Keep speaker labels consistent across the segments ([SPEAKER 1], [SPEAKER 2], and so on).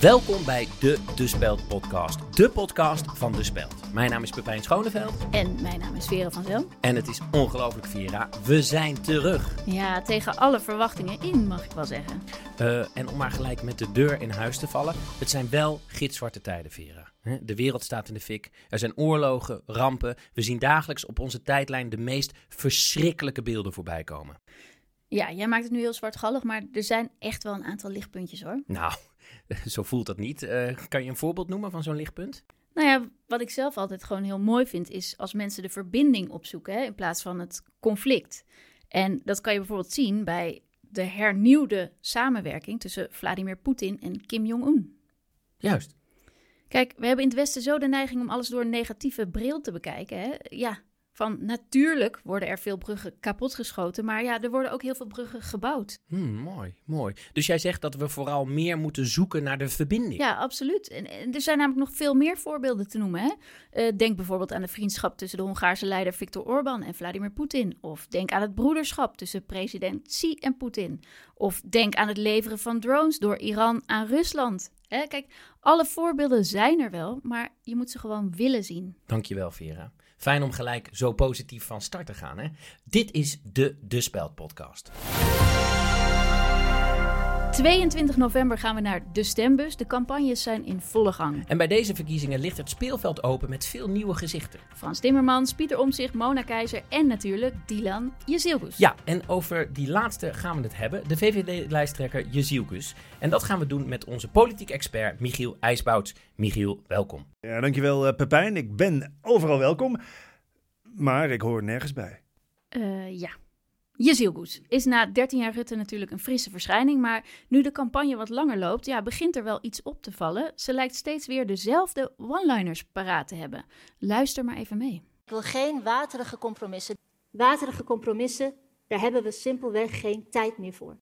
[SPEAKER 1] Welkom bij de De Speld podcast. De podcast van De Speld. Mijn naam is Pepijn Schoneveld
[SPEAKER 2] En mijn naam is Vera van Zelm.
[SPEAKER 1] en het is ongelooflijk Vera. We zijn terug.
[SPEAKER 2] Ja, tegen alle verwachtingen in, mag ik wel zeggen.
[SPEAKER 1] Eh, en om maar gelijk met de deur in huis te vallen. Het zijn wel gitzwarte tijden Vera. Hè, De wereld staat in de fik. Er zijn oorlogen, rampen. We zien dagelijks op onze tijdlijn de meest verschrikkelijke beelden voorbij komen.
[SPEAKER 2] Ja, jij maakt het nu heel zwartgallig, maar er zijn echt wel een aantal lichtpuntjes hoor.
[SPEAKER 1] Nou, zo voelt dat niet. Eh, kan je een voorbeeld noemen van zo'n lichtpunt?
[SPEAKER 2] Nou ja, wat ik zelf altijd gewoon heel mooi vind, is als mensen de verbinding opzoeken hè, in plaats van het conflict. En dat kan je bijvoorbeeld zien bij de hernieuwde samenwerking tussen Vladimir Poetin en Kim Jong-un.
[SPEAKER 1] Juist.
[SPEAKER 2] Kijk, we hebben in het Westen zo de neiging om alles door een negatieve bril te bekijken. Hè? Ja, van natuurlijk worden er veel bruggen kapotgeschoten, maar ja, er worden ook heel veel bruggen gebouwd.
[SPEAKER 1] Hmm, mooi, mooi. Dus jij zegt dat we vooral meer moeten zoeken naar de verbinding.
[SPEAKER 2] Ja, absoluut. En, en er zijn namelijk nog veel meer voorbeelden te noemen. Hè? Eh, denk bijvoorbeeld aan de vriendschap tussen de Hongaarse leider Viktor Orbán en Vladimir Poetin. Of denk aan het broederschap tussen president Xi en Poetin. Of denk aan het leveren van drones door Iran aan Rusland. Hè? Kijk, alle voorbeelden zijn er wel, maar je moet ze gewoon willen zien.
[SPEAKER 1] Dankjewel, Vera. Fijn om gelijk zo positief van start te gaan. Hè? Dit is de De Speld podcast.
[SPEAKER 2] 22 november gaan we naar de stembus. De campagnes zijn in volle gang.
[SPEAKER 1] En bij deze verkiezingen ligt het speelveld open met veel nieuwe gezichten.
[SPEAKER 2] Frans Timmermans, Pieter Omtzigt, Mona Keizer en natuurlijk Dylan Jezilgus.
[SPEAKER 1] Ja, en over die laatste gaan we het hebben. De VVD-lijsttrekker Jezielkus. En dat gaan we doen met onze politiek expert Michiel IJsbouts. Michiel, welkom.
[SPEAKER 3] Ja, dankjewel eh, Pepijn. Ik ben overal welkom, maar ik hoor nergens bij.
[SPEAKER 2] Eh, ja. Jezielgoes is na 13 jaar Rutte natuurlijk een frisse verschijning, maar nu de campagne wat langer loopt, ja, begint er wel iets op te vallen. Ze lijkt steeds weer dezelfde one-liners paraat te hebben. Luister maar even mee.
[SPEAKER 4] Ik wil geen waterige compromissen. Waterige compromissen, daar hebben we simpelweg geen tijd meer voor.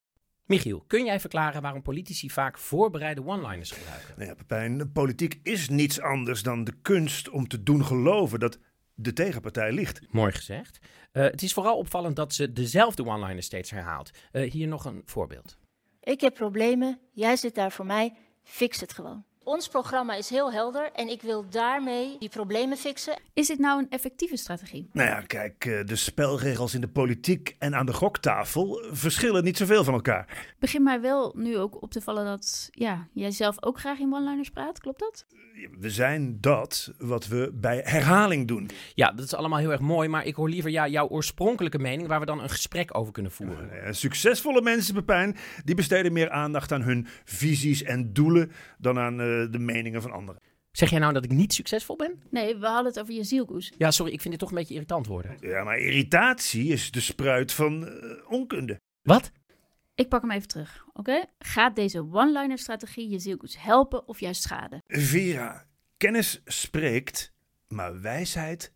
[SPEAKER 1] Michiel, kun jij verklaren waarom politici vaak voorbereide one-liners gebruiken?
[SPEAKER 3] Nou ja, Pepijn, politiek is niets anders dan de kunst om te doen geloven dat de tegenpartij ligt.
[SPEAKER 1] Mooi gezegd. Eh, het is vooral opvallend dat ze dezelfde one-liner steeds herhaalt. Eh, hier nog een voorbeeld.
[SPEAKER 4] Ik heb problemen, jij zit daar voor mij, fix het gewoon. Ons programma is heel helder en ik wil daarmee die problemen fixen.
[SPEAKER 2] Is dit nou een effectieve strategie?
[SPEAKER 3] Nou ja, kijk, eh, de spelregels in de politiek en aan de goktafel verschillen niet zoveel van elkaar.
[SPEAKER 2] Begin mij wel nu ook op te vallen dat ja, jij zelf ook graag in one-liners praat, klopt dat?
[SPEAKER 3] We zijn dat wat we bij herhaling doen.
[SPEAKER 1] Ja, dat is allemaal heel erg mooi, maar ik hoor liever ja, jouw oorspronkelijke mening waar we dan een gesprek over kunnen voeren.
[SPEAKER 3] Eh, Succesvolle mensen, Pepijn, die besteden meer aandacht aan hun visies en doelen dan aan eh, de meningen van anderen.
[SPEAKER 1] Zeg jij nou dat ik niet succesvol ben?
[SPEAKER 2] Nee, we hadden het over Jezielgoes.
[SPEAKER 1] Ja, sorry, ik vind dit toch een beetje irritant worden.
[SPEAKER 3] Ja, maar irritatie is de spruit van eh, onkunde.
[SPEAKER 1] Wat?
[SPEAKER 2] Ik pak hem even terug, oké? Gaat deze one-liner strategie Jezielgoes helpen of juist schaden?
[SPEAKER 3] Vera, kennis spreekt, maar wijsheid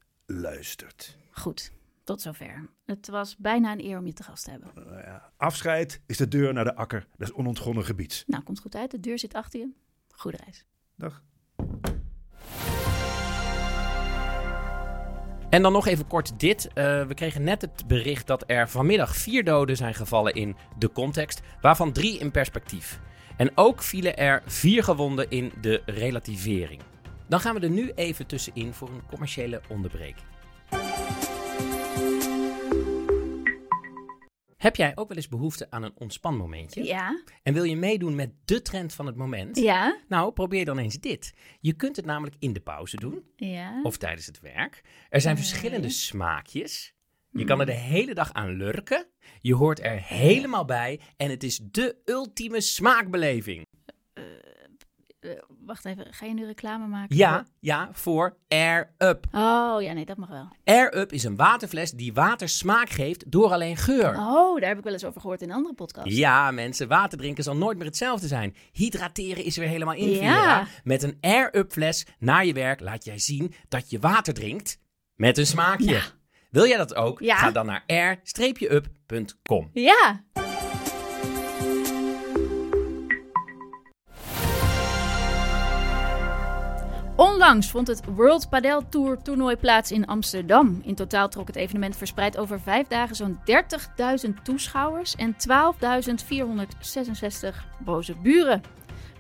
[SPEAKER 3] luistert.
[SPEAKER 2] Goed, tot zover. Het was bijna een eer om je te gast te hebben.
[SPEAKER 3] Nou ja, afscheid is de deur naar de akker. Dat is onontgonnen gebied.
[SPEAKER 2] Nou, komt goed uit. De deur zit achter je. Goede reis.
[SPEAKER 3] Dag.
[SPEAKER 1] En dan nog even kort dit. Eh, we kregen net het bericht dat er vanmiddag vier doden zijn gevallen in de context, waarvan drie in perspectief. En ook vielen er vier gewonden in de relativering. Dan gaan we er nu even tussenin voor een commerciële onderbreking. Heb jij ook wel eens behoefte aan een ontspanmomentje?
[SPEAKER 2] Ja?
[SPEAKER 1] En wil je meedoen met de trend van het moment?
[SPEAKER 2] Ja?
[SPEAKER 1] Nou, probeer dan eens dit. Je kunt het namelijk in de pauze doen
[SPEAKER 2] Ja?
[SPEAKER 1] of tijdens het werk. Er zijn
[SPEAKER 2] Mhm. Nee. Mhm.
[SPEAKER 1] verschillende smaakjes. Je kan er de hele dag aan lurken. Je hoort er helemaal bij. En het is de ultieme smaakbeleving.
[SPEAKER 2] Eh, wacht even, ga je nu reclame maken?
[SPEAKER 1] Ja, ja, voor Air Up.
[SPEAKER 2] Oh, ja, nee, dat mag wel.
[SPEAKER 1] Air Up is een waterfles die water smaak geeft door alleen geur.
[SPEAKER 2] Oh, daar heb ik wel eens over gehoord in een andere podcast.
[SPEAKER 1] Ja, mensen, water drinken zal nooit meer hetzelfde zijn. Hydrateren is weer helemaal in,
[SPEAKER 2] Ja.
[SPEAKER 1] Vera. Met een air-up fles naar je werk laat jij zien dat je water drinkt met een smaakje.
[SPEAKER 2] Ja.
[SPEAKER 1] Wil jij dat ook?
[SPEAKER 2] Ja.
[SPEAKER 1] Ga dan naar air-up.com.
[SPEAKER 2] Ja. Onlangs vond het World Padel Tour toernooi plaats in Amsterdam. In totaal trok het evenement verspreid over vijf dagen zo'n 30.000 toeschouwers en 12.466 boze buren.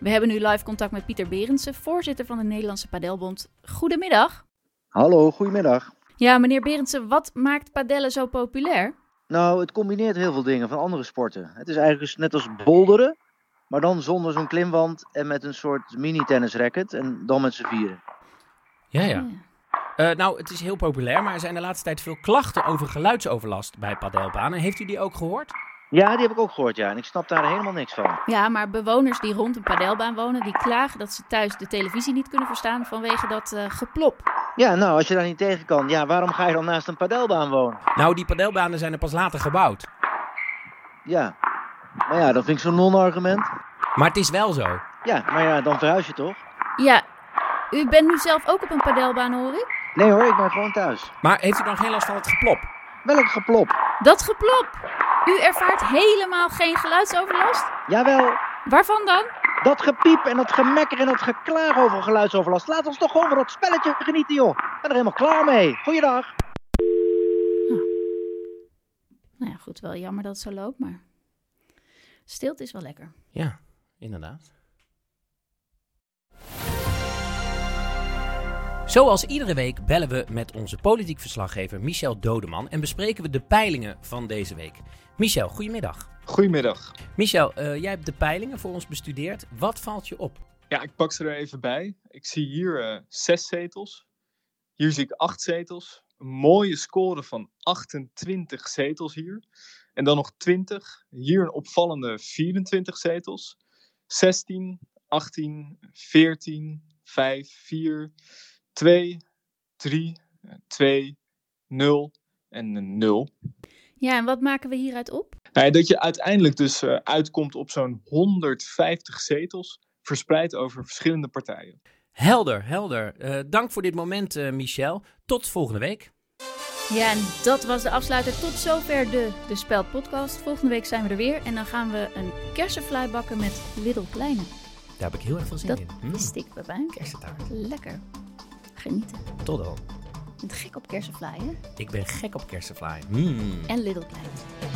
[SPEAKER 2] We hebben nu live contact met Pieter Berendsen, voorzitter van de Nederlandse Padelbond. Goedemiddag.
[SPEAKER 5] Hallo, goedemiddag.
[SPEAKER 2] Ja, meneer Berendsen, wat maakt padellen zo populair?
[SPEAKER 5] Nou, het combineert heel veel dingen van andere sporten. Het is eigenlijk dus net als boulderen, maar dan zonder zo'n klimwand en met een soort mini-tennisracket en dan met z'n vieren.
[SPEAKER 1] Ja, ja. Eh, nou, het is heel populair, maar er zijn de laatste tijd veel klachten over geluidsoverlast bij padelbanen. Heeft u die ook gehoord?
[SPEAKER 5] Ja, die heb ik ook gehoord, ja. En ik snap daar helemaal niks van.
[SPEAKER 2] Ja, maar bewoners die rond een padelbaan wonen, die klagen dat ze thuis de televisie niet kunnen verstaan vanwege dat eh, geplop.
[SPEAKER 5] Ja, nou, als je daar niet tegen kan, ja, waarom ga je dan naast een padelbaan wonen?
[SPEAKER 1] Nou, die padelbanen zijn er pas later gebouwd.
[SPEAKER 5] Ja. Maar ja, dat vind ik zo'n non-argument.
[SPEAKER 1] Maar het is wel zo.
[SPEAKER 5] Ja, maar ja, dan verhuis je toch?
[SPEAKER 2] Ja, u bent nu zelf ook op een padelbaan, hoor ik.
[SPEAKER 5] Nee hoor, ik ben gewoon thuis.
[SPEAKER 1] Maar heeft u dan geen last van het geplop?
[SPEAKER 5] Welk geplop?
[SPEAKER 2] Dat geplop! U ervaart helemaal geen geluidsoverlast?
[SPEAKER 5] Jawel,
[SPEAKER 2] Waarvan dan?
[SPEAKER 5] dat gepiep en dat gemekker en dat geklaag over geluidsoverlast. Laat ons toch gewoon van dat spelletje genieten, joh. Ik ben er helemaal klaar mee. Goeiedag.
[SPEAKER 2] Nou ja, goed, wel jammer dat het zo loopt, maar stilte is wel lekker.
[SPEAKER 1] Ja, inderdaad. Zoals iedere week bellen we met onze politiek verslaggever Michel Dodeman en bespreken we de peilingen van deze week. Michel, goedemiddag.
[SPEAKER 6] Goedemiddag.
[SPEAKER 1] Michel, eh, jij hebt de peilingen voor ons bestudeerd. Wat valt je op?
[SPEAKER 6] Ja, ik pak ze er even bij. Ik zie hier eh, zes zetels. Hier zie ik acht zetels. Een mooie score van 28 zetels hier. En dan nog 20. Hier een opvallende 24 zetels. 16, 18, 14, 5, 4, 2, 3, 2, 0 eh, en een 0.
[SPEAKER 2] Ja, en wat maken we hieruit op?
[SPEAKER 6] Nou ja, dat je uiteindelijk dus eh, uitkomt op zo'n 150 zetels, verspreid over verschillende partijen.
[SPEAKER 1] Helder, helder. Eh, dank voor dit moment, eh, Michel. Tot volgende week.
[SPEAKER 2] Ja, en dat was de afsluiter. Tot zover de De Speld podcast. Volgende week zijn we er weer en dan gaan we een kersenfly bakken met Little Kleine.
[SPEAKER 1] Daar heb ik heel erg veel zin
[SPEAKER 2] Dat
[SPEAKER 1] in.
[SPEAKER 2] is
[SPEAKER 1] Mm,
[SPEAKER 2] dik bij
[SPEAKER 1] kersentaart.
[SPEAKER 2] Lekker. Genieten.
[SPEAKER 1] Tot dan.
[SPEAKER 2] Je bent gek op kersenfly, hè?
[SPEAKER 1] Ik ben gek op kersenfly. Mm.
[SPEAKER 2] En Little Kleine.